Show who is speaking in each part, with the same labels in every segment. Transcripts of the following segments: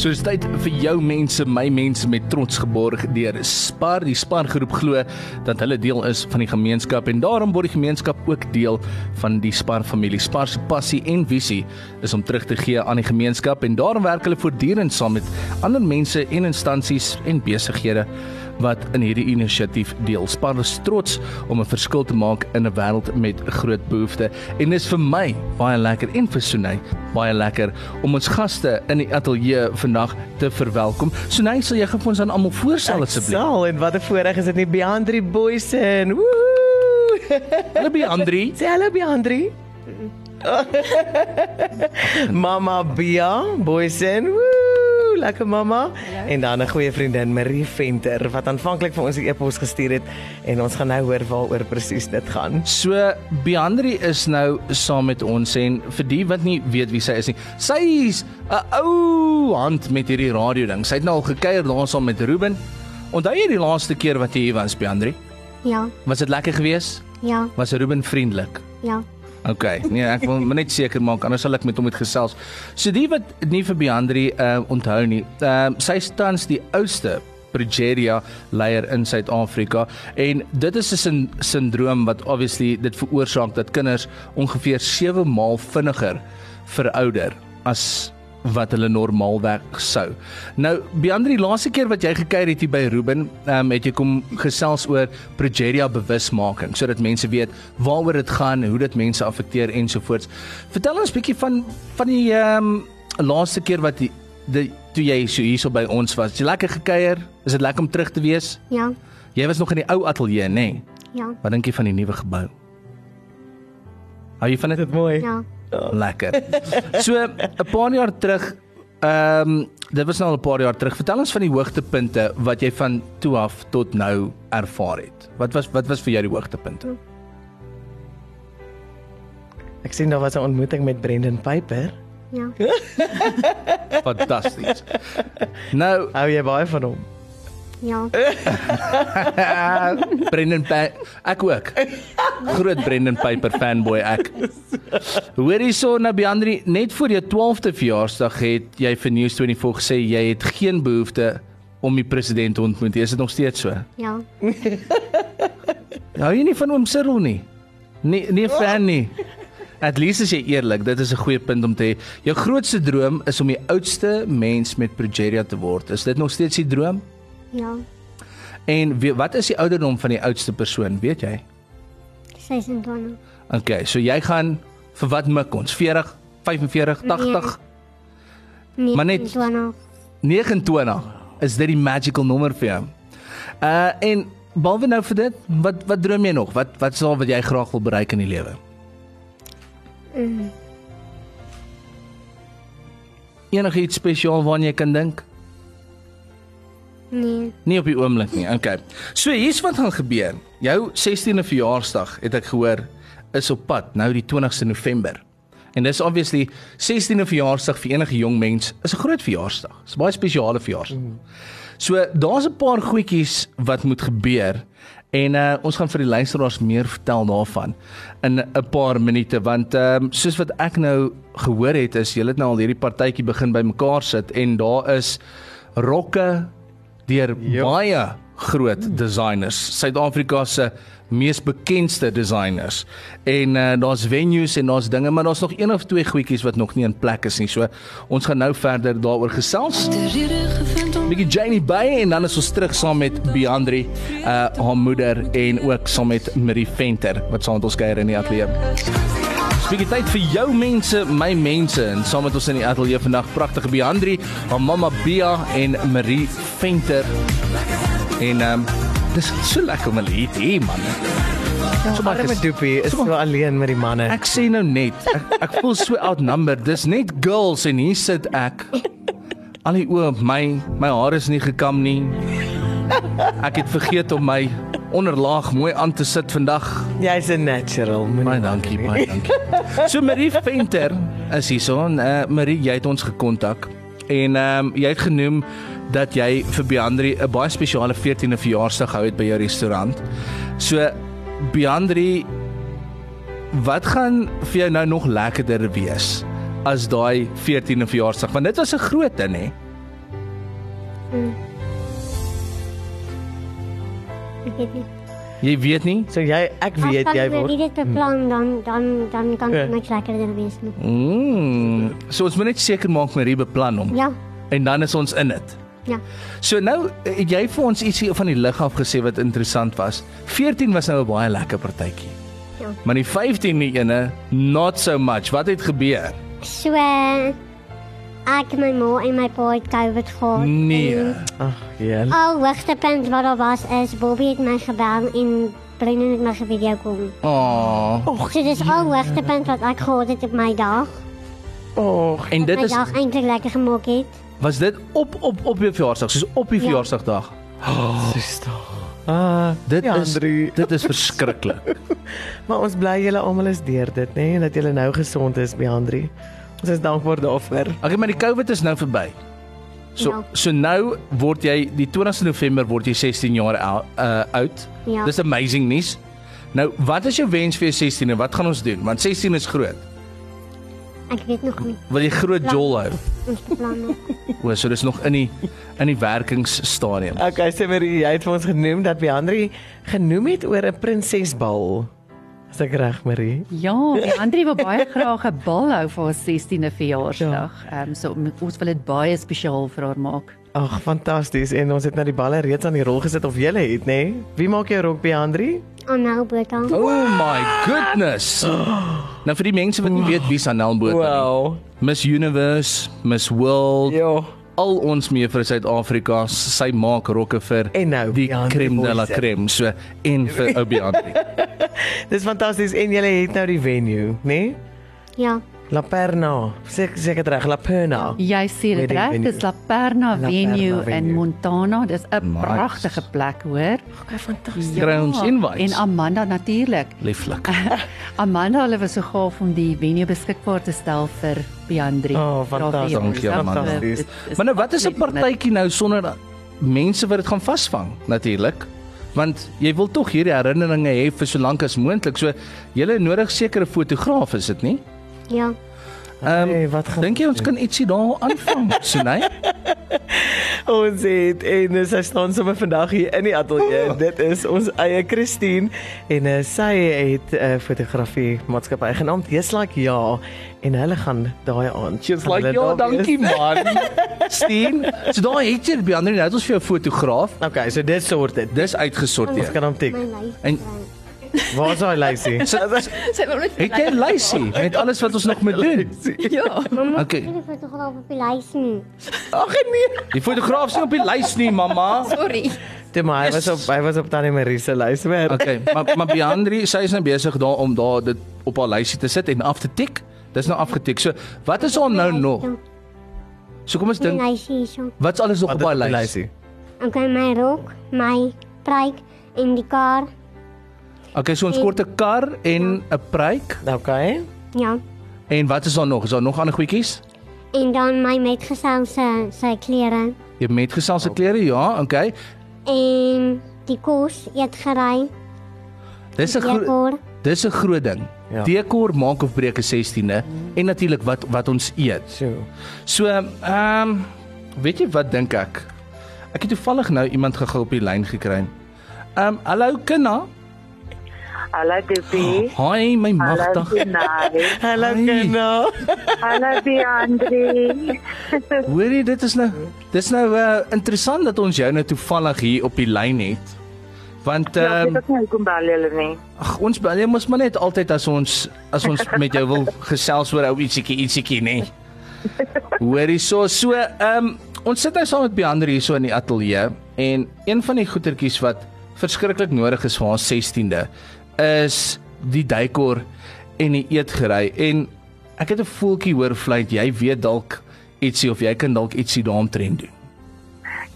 Speaker 1: So dis tyd vir jou mense, my mense met trots geborg deur Spar. Die Spar groep glo dat hulle deel is van die gemeenskap en daarom word die gemeenskap ook deel van die Spar familie. Spar se passie en visie is om terug te gee aan die gemeenskap en daarom werk hulle voortdurend saam met ander mense en instansies en besighede wat in hierdie inisiatief deel. Spar is trots om 'n verskil te maak in 'n wêreld met groot behoeftes en dis vir my baie lekker en vir Sunay baie lekker om ons gaste in die ateljee vandag te verwelkom. Sunay, sal jy gou vir ons aan almal voorstel asseblief?
Speaker 2: Sal en wat 'n voorreg is dit nie Beandri Boysen. Woehoe!
Speaker 1: Hallo by Andri.
Speaker 2: Sê hallo Beandri. Mama Bia Boysen. Woehoe! Lekker mamma. En dan 'n goeie vriendin Marie Venter wat aanvanklik vir ons die e-pos gestuur het en ons gaan nou hoor waaroor presies dit gaan.
Speaker 1: So Beandri is nou saam met ons en vir die wat nie weet wie sy is nie. Sy's 'n ou hand met hierdie radio ding. Sy het nou al gekuier daar saam met Ruben. Onthou jy die laaste keer wat jy hier was, Beandri?
Speaker 3: Ja,
Speaker 1: Was dit lekker geweest?
Speaker 3: ja,
Speaker 1: Was Ruben vriendelik?
Speaker 3: ja.
Speaker 1: OK, nee, ek wil maar net seker maak anders sal ek met hom het gesels. So die wat nie vir Beandri uh, onthou nie. Ehm uh, sy is tans die oudste progeria leier in Suid-Afrika en dit is 'n sin sindroom wat obviously dit veroorsaak dat kinders ongeveer 7 maal vinniger verouder as wat hulle normaalweg sou. Nou, Beandri, laaste keer wat jy gekuier het hier by Ruben, ehm um, het jy kom gesels oor progeria bewusmaking sodat mense weet waaroor dit gaan, hoe dit mense affekteer ensovoorts. Vertel ons bietjie van van die ehm um, laaste keer wat die, die toe jy so hierso by ons was. Het Jy lekker gekuier? Is dit lekker om terug te wees?
Speaker 3: Ja,
Speaker 1: Jy was nog in die ou ateljee, nê? Nee.
Speaker 3: ja,
Speaker 1: Wat dink jy van die nuwe gebou? Hou jy van dit?
Speaker 2: Dit mooi.
Speaker 3: ja,
Speaker 1: Lekker. So 'n paar jaar terug, ehm dit was nou al 'n paar jaar terug. Vertel ons van die hoogtepunte wat jy van toe af tot nou ervaar het. Wat was wat was vir jou die hoogtepunte?
Speaker 2: Ek sien daar was 'n ontmoeting met Brendan Piper.
Speaker 3: ja.
Speaker 1: Fantasties. Nou,
Speaker 2: Hou jy baie van hom?
Speaker 3: Ja,
Speaker 1: eh, Brendan Pi- ek ook. Groot Brendan Piper fanboy ek. Hoor hierso na Beandri, net voor jou 12de verjaarsdag het jy vir News24 gesê jy het geen behoefte om die president te ontmoet. nie. Is dit nog steeds so?
Speaker 3: ja,
Speaker 1: Hou jy nie van oom Cyril nie? Nee, nee fan nie. At least as jy eerlik, dit is 'n goeie punt om te hê. Jou grootste droom is om die oudste mens met progeria te word. Is dit nog steeds die droom?
Speaker 3: ja.
Speaker 1: En weet, wat is die ouderdom van die oudste persoon, weet jy?
Speaker 3: 26.
Speaker 1: Okay, so jy gaan vir wat mik ons? 40, 45, 80,
Speaker 3: Nee,
Speaker 1: Maar net-
Speaker 3: 20.
Speaker 1: 29. Is dit die magical nommer vir jou? Uh en behalwe nou vir dit, wat wat droom jy nog? Wat wat sal wat jy graag wil bereik in die lewe? Enige iets spesiaal waaraan jy kan dink?
Speaker 3: Nee,
Speaker 1: Nie op die oomblik nie. Okay. So hier's wat gaan gebeur. Jou 16de verjaarsdag het ek gehoor is op pad nou die 20ste November. En dis obviously 16de verjaarsdag vir enige jong mens is 'n groot verjaarsdag. Dis 'n baie spesiale verjaarsdag. So daar's 'n paar goedjies wat moet gebeur en uh, ons gaan vir die luisteraars meer vertel daarvan in 'n paar minute want ehm um, soos wat ek nou gehoor het is julle het nou al hierdie partytjie begin bymekaar sit en daar is rokke deur baie groot designers, Suid-Afrika se mees bekendste designers. En uh, daar's venues en daar's dinge, maar daar's nog een of twee goedjies wat nog nie in plek is nie. So ons gaan nou verder daaroor gesels. Bietjie Janie Bey en dan is ons terug saam met Beandri, uh, haar moeder en ook saam met Marie Venter wat saam met ons kuier in die ateljee. Bietjie tyd vir jou mense, my mense en saam met ons in die ateljee vandag pragtige Beandri, haar mamma Bea en Marie Venter. En ehm um, dis so lekker om hulle hier te hê man. So baie
Speaker 2: Arme
Speaker 1: ges-
Speaker 2: Doopie is
Speaker 1: so
Speaker 2: so alleen met die manne.
Speaker 1: Ek sê nou net, ek, ek voel so outnumbered. Dis net girls en hier sit ek. Al die oë op my, my hare is nie gekam nie. Ek het vergeet om my onderlaag mooi aan te sit vandag.
Speaker 2: Jy's 'n natural. moenie
Speaker 1: Baie dankie, baie dankie. So Marie Venter is hierso en uh, Marie, jy het ons gekontak en ehm um, jy het genoem dat jy vir Beandri 'n baie spesiale 14de verjaarsdag gehou het by jou restaurant. So Beandri, wat gaan vir jou nou nog lekkerder wees as daai 14de verjaarsdag? Want dit was 'n groot ding, hè?
Speaker 3: Ek weet nie.
Speaker 1: Jy weet nie.
Speaker 2: So jy ek
Speaker 3: As
Speaker 2: weet
Speaker 3: kan
Speaker 2: jy
Speaker 3: ek weer
Speaker 2: word
Speaker 3: dit
Speaker 1: Hm.
Speaker 3: beplan dan dan dan kan
Speaker 2: Ja.
Speaker 3: dit niks lekkerder wees nie.
Speaker 1: Mm. So ons moet net seker maak Marie beplan hom
Speaker 3: Ja.
Speaker 1: en dan is ons in dit.
Speaker 3: Ja.
Speaker 1: So nou het jy vir ons ietsie van die lig af gesê wat interessant was. 14 was nou 'n baie lekker partytjie.
Speaker 3: Ja.
Speaker 1: Maar die 15de ene, not so much. Wat het gebeur?
Speaker 3: So eh, ek en my ma en my pa het COVID gehad.
Speaker 1: Hm. Nee.
Speaker 2: Ag, ja.
Speaker 3: Al hoogtepunt wat daar was is Bobby het my gebel en Brendan het my gevideo kom.
Speaker 1: Aa. Oh.
Speaker 3: So dis al hoogtepunt wat ek gehad het op my dag.
Speaker 2: Och,
Speaker 1: En dit
Speaker 3: my
Speaker 1: is
Speaker 3: dag eintlik lekker gemaak het.
Speaker 1: was dit op op op jou verjaarsdag, soos op die
Speaker 3: Ja.
Speaker 1: verjaarsdagdag.
Speaker 2: dis tog. Ah,
Speaker 1: Dit
Speaker 2: ja,
Speaker 1: is
Speaker 2: Andrew.
Speaker 1: dit is verskriklik.
Speaker 2: maar ons bly julle almal is deur dit, nê, en dat julle nou gesond is, Beandri. Ons is dankbaar daarvoor.
Speaker 1: Okay, maar die COVID is nou verby. So
Speaker 3: Ja.
Speaker 1: so nou word jy die 20ste November word jy 16 jaar ou- uh, oud.
Speaker 3: Ja.
Speaker 1: Dis amazing nuus. Nou, wat is jou wens vir jou 16 en wat gaan ons doen? Want 16 is groot.
Speaker 3: Ek weet nog nie
Speaker 1: Wil jy groot
Speaker 3: Ja.
Speaker 1: jol hou?
Speaker 3: ons planne.
Speaker 1: O, so dis nog in die in die werkingsstadium.
Speaker 2: Okay, Semerie, jy het vir ons genoem dat Beandri genoem het oor 'n prinsesbal. Is ek reg, Marie?
Speaker 4: Ja, die Andri wil baie graag 'n bal hou vir haar 16de verjaarsdag.
Speaker 1: Ja.
Speaker 4: Ehm um, so m- ons wil dit baie spesiaal vir haar maak.
Speaker 2: Ag, fantasties. En ons het nou die balle reeds aan die rol gesit of jy het, nê? Wie maak jou rok, Beandri?
Speaker 3: Aanhou Botha.
Speaker 1: Oh my goodness. Nou vir die mense wat nie weet wie Sanel Botha is. Miss Universe, Miss World,
Speaker 2: Ja.
Speaker 1: al ons mee vir Suid-Afrika, sy maak rokke vir
Speaker 2: En nou,
Speaker 1: die
Speaker 2: Beandre
Speaker 1: crème de la
Speaker 2: Boysen.
Speaker 1: crème, so en vir Obiandri.
Speaker 2: Dis fantasties en jy het nou die venue, nê?
Speaker 3: Ja.
Speaker 2: La Perna. Sê sê dit reg, La Perna.
Speaker 4: Jy sê dit
Speaker 2: Wedding
Speaker 4: reg, dis La
Speaker 2: La
Speaker 4: Perna
Speaker 2: Perna
Speaker 4: Venue
Speaker 2: Venue.
Speaker 4: in Montana. Dis 'n
Speaker 1: Nice.
Speaker 4: pragtige plek, hoor. Ja,
Speaker 2: Okay, fantasties.
Speaker 1: Kry ons Ja. invites.
Speaker 4: En Amanda natuurlik.
Speaker 1: Lieflik.
Speaker 2: Ah,
Speaker 4: Amanda, hulle was so gaaf om die venue beskikbaar te stel vir Beandri.
Speaker 2: Oh,
Speaker 4: Vir haar
Speaker 2: fantasties.
Speaker 4: verjaarsdag.
Speaker 1: Dankie, Amanda.
Speaker 2: Fantasties.
Speaker 4: Dit is
Speaker 1: Maar nou wat is 'n
Speaker 4: absoluut net-
Speaker 1: partytjie nou sonder mense wat dit gaan vasvang natuurlik? Want jy wil tog hierdie herinneringe hê vir so lank as moontlik. So jy nodig sekere fotograaf is dit nie?
Speaker 3: Ja.
Speaker 1: Ehm
Speaker 2: Hey, wat gaan-
Speaker 1: Dink jy ons kan ietsie daar aanvang? Sunay?
Speaker 2: Ons het en eh, sy staan sommer vandag hier in die ateljee. Oh. Dit is ons eie Christine en eh, sy het 'n uh, fotografie maatskappy genaamd Just Like Ja en hulle gaan daai aand.
Speaker 1: Jy's
Speaker 2: gaan
Speaker 1: like,
Speaker 2: hulle
Speaker 1: "Ja,
Speaker 2: daar wees."
Speaker 1: dankie man." Steen, so daar het jy by ander nou het ons vir jou 'n fotograaf.
Speaker 2: Okay, so dit sort dit.
Speaker 1: Dis
Speaker 2: Ons
Speaker 1: uitgesorteer.
Speaker 2: kan hom tik.
Speaker 3: My lyf.
Speaker 1: En
Speaker 2: Waar is daai lysie?
Speaker 1: sit
Speaker 4: Sy wil net
Speaker 1: het jy 'n lysie met alles wat ons nog moet doen.
Speaker 4: Ja.
Speaker 3: Mamma,
Speaker 1: Okay.
Speaker 3: okay. ek het 'n fotograaf op die lys
Speaker 1: Oh,
Speaker 3: nie.
Speaker 2: Ag nee.
Speaker 1: Die fotograaf is nie op die lys nie, mamma.
Speaker 4: Sorry.
Speaker 2: Toe maar hy was op hy was op tannie Marie se lys weer.
Speaker 1: Okay, maar maar Beandri, sy is nou besig daar om daar dit op haar lysie te sit en af te tik. Dis nou afgetik. So, wat is hom nou nog? So kom ons
Speaker 3: Die
Speaker 1: dink,
Speaker 3: lys hierso.
Speaker 1: wat's alles nog op
Speaker 2: Wat is
Speaker 1: haar
Speaker 2: op die
Speaker 1: lys?
Speaker 3: Okay, my rok, my pruik en die kar.
Speaker 1: Okay, so ons kort 'n kar en 'n pruik.
Speaker 2: Okay.
Speaker 3: Ja.
Speaker 1: En wat is daar nog? Is daar nog ander goedjies?
Speaker 3: En dan my metgesel se sy klere
Speaker 1: Jy het metgesel se klere? Ja, okay.
Speaker 3: en die kos eetgery,
Speaker 1: Dis 'n groot
Speaker 3: dekor.
Speaker 1: dis 'n groot ding.
Speaker 2: Ja.
Speaker 1: Ja. Dekor maak of breek 'n 16de en natuurlik wat wat ons eet.
Speaker 2: So.
Speaker 1: So, ehm um, weet jy wat dink ek? Ek het toevallig nou iemand gegaan op die lyn gekry. Ehm um, hallo Kinna.
Speaker 5: Hallo Debbie.
Speaker 1: Hi my
Speaker 5: Hallo
Speaker 1: magtig.
Speaker 5: Sinari.
Speaker 2: Hallo
Speaker 1: Hi.
Speaker 2: Kenna.
Speaker 5: Hallo Beandri.
Speaker 1: Hoorie, dit is nou dis nou uh, interessant dat ons jou nou toevallig hier op die lyn het. Want
Speaker 5: Ja,
Speaker 1: ehm
Speaker 5: ek
Speaker 1: um,
Speaker 5: het nie kom bel julle nie.
Speaker 1: Ag ons bel jy mos maar net altyd as ons as ons met jou wil gesels oor ou ietsiekie ietsiekie nê. Nee. Hoorie so so ehm um, ons sit nou saam met Beander hierso in die ateljee en een van die goetertjies wat verskriklik nodig is vir haar 16de is die duikor en die eetgery en ek het 'n voeltjie hoor fluit jy weet dalk ietsie of jy kan dalk ietsie daaromtrent doen.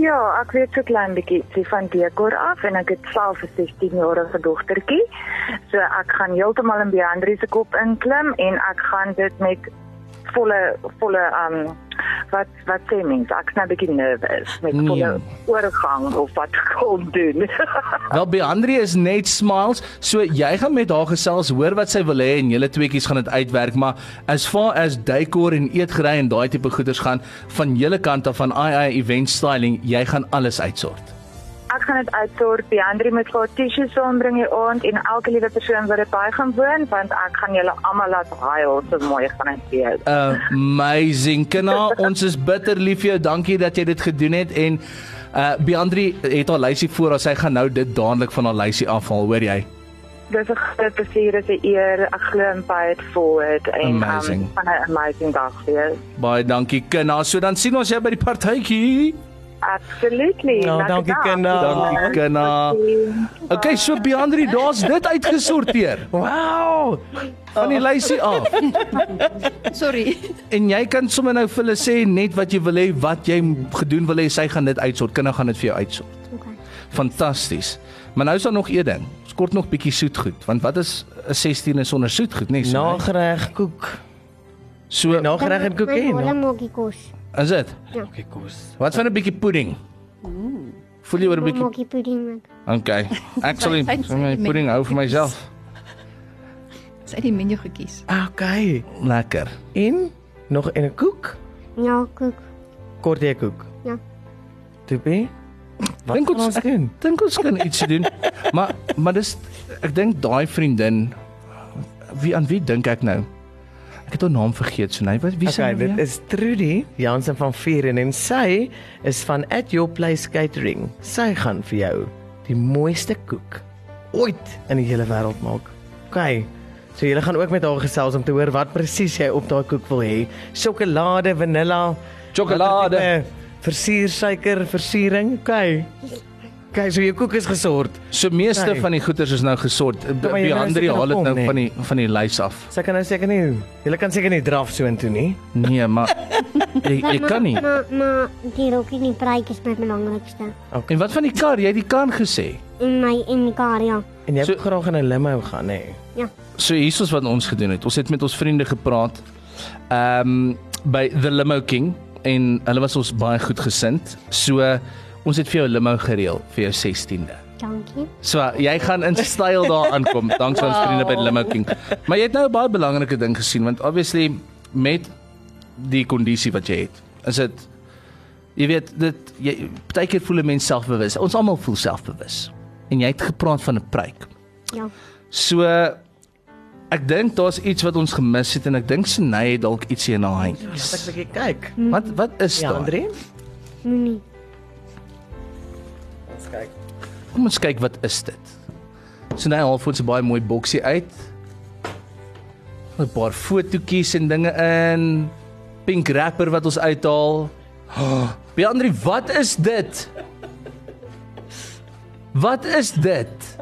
Speaker 5: Ja, ek weet so klein bietjie ietsie van dekor af en ek het self 'n 16-jarige dogtertjie. So ek gaan heeltemal in Beandri se kop inklim en ek gaan dit met volle volle um wat wat sê mens, ek's nou 'n bietjie nervous met
Speaker 1: Nee.
Speaker 5: volle oorgang of wat kom doen.
Speaker 1: Wel Beandrie is net smiles, so jy gaan met haar gesels, hoor wat sy wil hê en julle tweeetjies gaan dit uitwerk, maar as far as decor en eetgerei en daai tipe goeders gaan van julle kant af van II Event Styling, jy gaan alles uitsort.
Speaker 5: Ek gaan dit uitsort. Die ander moet vir T-shirts saambring hier aand en elke liewe persoon wat dit by gaan woon want ek gaan julle almal laat huil so mooi gaan dit wees.
Speaker 1: Amazing. Kina, ons is bitter lief vir jou. Dankie dat jy dit gedoen het en uh Beandrie het haar lysie voor as sy gaan nou dit dadelik van haar lysie afhaal, hoor jy?
Speaker 5: Dis 'n groot plesier, dis 'n eer. Ek glo in Pay It Forward en
Speaker 1: Amazing.
Speaker 5: um, van 'n amazing dag wees.
Speaker 1: Baie dankie Kina. So dan sien ons jou by die partytjie.
Speaker 5: Absolutely.
Speaker 2: Nou,
Speaker 5: Lekker
Speaker 2: dankie,
Speaker 5: dag.
Speaker 2: Kenda.
Speaker 1: Dankie Kina. Okay, so Beandrie, daar's dit uitgesorteer
Speaker 2: Wow.
Speaker 1: van die lysie af.
Speaker 4: Sorry.
Speaker 1: En jy kan sommer nou vir hulle sê net wat jy wil hê, wat jy gedoen wil hê, sy gaan dit uitsort. Kinders gaan dit vir jou uitsort.
Speaker 3: Okay.
Speaker 1: Fantasties. Maar nou is daar nog een ding. Ons kort nog bietjie soetgoed, want wat is 'n 16 is sonder soetgoed, nee? So, nee.
Speaker 2: Nagereg koek.
Speaker 1: so
Speaker 2: Nagereg en koek
Speaker 3: My
Speaker 2: en.
Speaker 3: holle maakie kos.
Speaker 1: is dit.
Speaker 6: Ja.
Speaker 2: Okay, kos.
Speaker 1: Wat van 'n bietjie pudding? Voel jy oor 'n
Speaker 3: My
Speaker 1: bietjie?
Speaker 3: maakie pudding maak.
Speaker 1: Okay. Actually,
Speaker 6: Mm. Sy- sy- sy-
Speaker 1: my pudding hou vir myself.
Speaker 6: Sy het die menu gekies.
Speaker 2: Okay.
Speaker 1: Lekker.
Speaker 2: En nog 'n koek.
Speaker 3: Ja, koek.
Speaker 2: Kort jy koek.
Speaker 3: Ja.
Speaker 2: Toepie. Wat
Speaker 1: Dink
Speaker 2: kan
Speaker 1: ons-
Speaker 2: ons doen?
Speaker 1: Dink ons kan iets doen. Maar maar dis ek dink daai vriendin wie aan wie dink ek nou? Ek het haar naam vergeet, so nee, wat wie sy
Speaker 2: Okay,
Speaker 1: nou weer?
Speaker 2: dit is Trudy Jansen van Vieren en sy is van At Your Place Catering. Sy gaan vir jou die mooiste koek ooit in die hele wêreld maak. Okay. So julle gaan ook met haar gesels om te hoor wat presies jy op daai koek wil hê. Sjokolade, vanilla,
Speaker 1: Sjokolade.
Speaker 2: watter tipe Versiersuiker, versiering. Okay. Okay, so jou koek is gesort.
Speaker 1: So meeste
Speaker 2: Nee.
Speaker 1: nee. van die goeders is nou gesort. Be-
Speaker 2: maar jy
Speaker 1: Die
Speaker 2: wil
Speaker 1: ander
Speaker 2: seker nog
Speaker 1: haal dit
Speaker 2: kom,
Speaker 1: nou
Speaker 2: nee.
Speaker 1: van die van die lys af.
Speaker 2: Sy kan nou seker nie. Julle kan seker nie draf so intoe nie.
Speaker 1: Nee, maar jy, jy kan nie.
Speaker 3: Maar maar die rokkie en die praatjie is my belangrikste.
Speaker 1: En wat van die kar? Jy het die kar gesê.
Speaker 3: En my en die kar ja.
Speaker 2: En jy
Speaker 1: So-
Speaker 2: wil so, graag in 'n limo gaan, hè.
Speaker 1: So hier is wat ons gedoen het. Ons het met ons vriende gepraat. Ehm um, by The Limo King en hulle was ons baie goed gesind. So ons het vir jou 'n limo gereël vir jou 16de.
Speaker 3: Dankie.
Speaker 1: So jy gaan in styl daar aankom danksy ons vriende by Limo King. Maar jy het nou 'n baie belangrike ding gesien want obviously met die kondisie wat jy het. Is dit jy weet dit jy baie keer voel 'n mens selfbewus. Ons almal voel selfbewus. En jy het gepraat van 'n pruik.
Speaker 3: Ja.
Speaker 1: So ek dink daar's iets wat ons gemis het en ek dink Sinay het dalk ietsie in haar
Speaker 2: Ja, Wat
Speaker 1: handjies.
Speaker 2: ek bietjie kyk.
Speaker 1: Wat wat is
Speaker 2: Ja,
Speaker 1: daar?
Speaker 2: Andre.
Speaker 3: Moenie.
Speaker 1: Kom ons kyk wat is dit. So nou haal vir ons 'n baie mooi boksie uit. 'n Paar fotootjies en dinge in. Pink wrapper wat ons uithaal. Oh, Beandri, wat is dit? Wat is dit?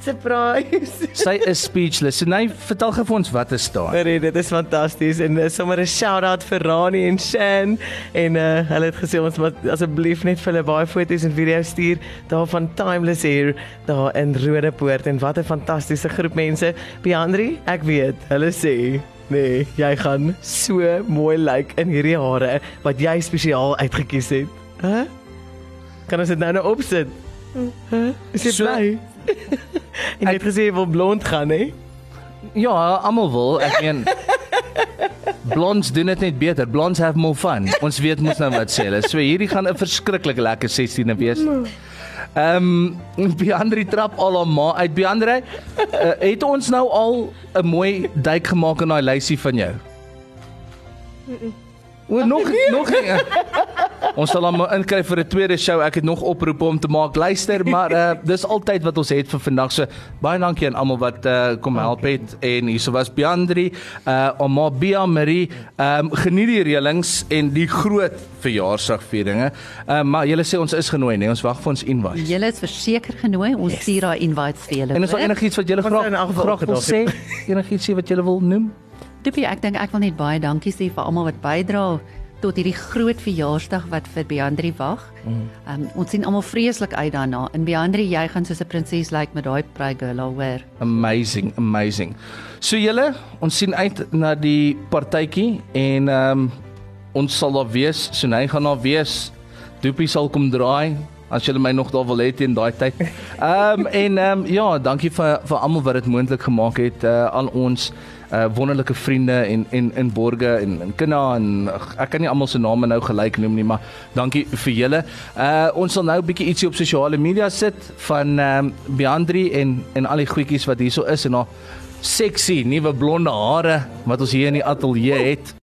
Speaker 2: Surprise.
Speaker 1: Sy is speechless. So nou vertel gou vir ons wat is daar?
Speaker 2: Nee, dit is fantasties en uh, sommer 'n shout-out vir Rani en Shan en uh, hulle het gesê ons moet asseblief net vir hulle baie foto's en video's stuur daarvan Timeless Hair daar in Rodepoort en wat 'n fantastiese groep mense. Beandri, ek weet, hulle sê nee, jy gaan so mooi lyk like in hierdie hare wat jy spesiaal uitgekies het. Hæ? Huh? Kan ons dit nou nou opsit? Hæ? Huh? Is jy
Speaker 1: So-
Speaker 2: bly? en jy het gesê jy wil blond gaan, hè?
Speaker 1: Ja, almal wil. Ek meen Blonds doen dit net beter. Blonds have more fun. Ons weet mos nou wat sê hulle. So hierdie gaan 'n verskriklik lekker 16e wees. Ehm um, Beandre trap al haar ma uit. Beandre, uh, het ons nou al 'n mooi duik gemaak in daai lysie van jou? O, nog nog nie. Ons sal hom inkry vir 'n tweede show. Ek het nog oproepe om te maak. Luister, maar uh, dis altyd wat ons het vir vandag. So baie dankie aan almal wat uh, kom help het en hierso was Beandri, uh Oma Bia Marie. Ehm um, geniet die reëlings en die groot verjaarsdagvieringe. Ehm uh, maar julle sê ons is genooi, nee. Ons wag vir ons invite.
Speaker 4: Julle is verseker genooi. Ons stuur yes. daai invites vir julle.
Speaker 1: En is daar
Speaker 4: hoor.
Speaker 1: enigiets wat julle
Speaker 2: Ons
Speaker 1: graag
Speaker 2: het in elk geval
Speaker 1: graag wil
Speaker 2: opgedag
Speaker 1: sê?
Speaker 2: het.
Speaker 1: Enigiets sê wat julle wil noem?
Speaker 4: Doopie, ek dink ek wil net baie dankie sê vir almal wat bydra tot hierdie groot verjaarsdag wat vir Beandri wag. Mm. Um, ons sien almal vreeslik uit daarna. En Beandri, jy gaan soos 'n prinses lyk like met daai prygirl hoor.
Speaker 1: Amazing, amazing. So julle, ons sien uit na die partytjie en ehm um, ons sal daar wees. So hy gaan daar wees. Doopie sal kom draai as julle my nog daar wil hê teen daai tyd. Ehm um, en ehm um, ja, dankie vir vir almal wat dit moontlik gemaak het uh, al ons uh, wonderlike vriende en en in Borge en in Kinna en ag, ek kan nie almal se name nou gelyk noem nie, maar dankie vir julle. Uh ons sal nou 'n bietjie ietsie op sosiale media sit van ehm um, Beandri en en al die goedjies wat hierso is en haar sexy nuwe blonde hare wat ons hier in die ateljee het.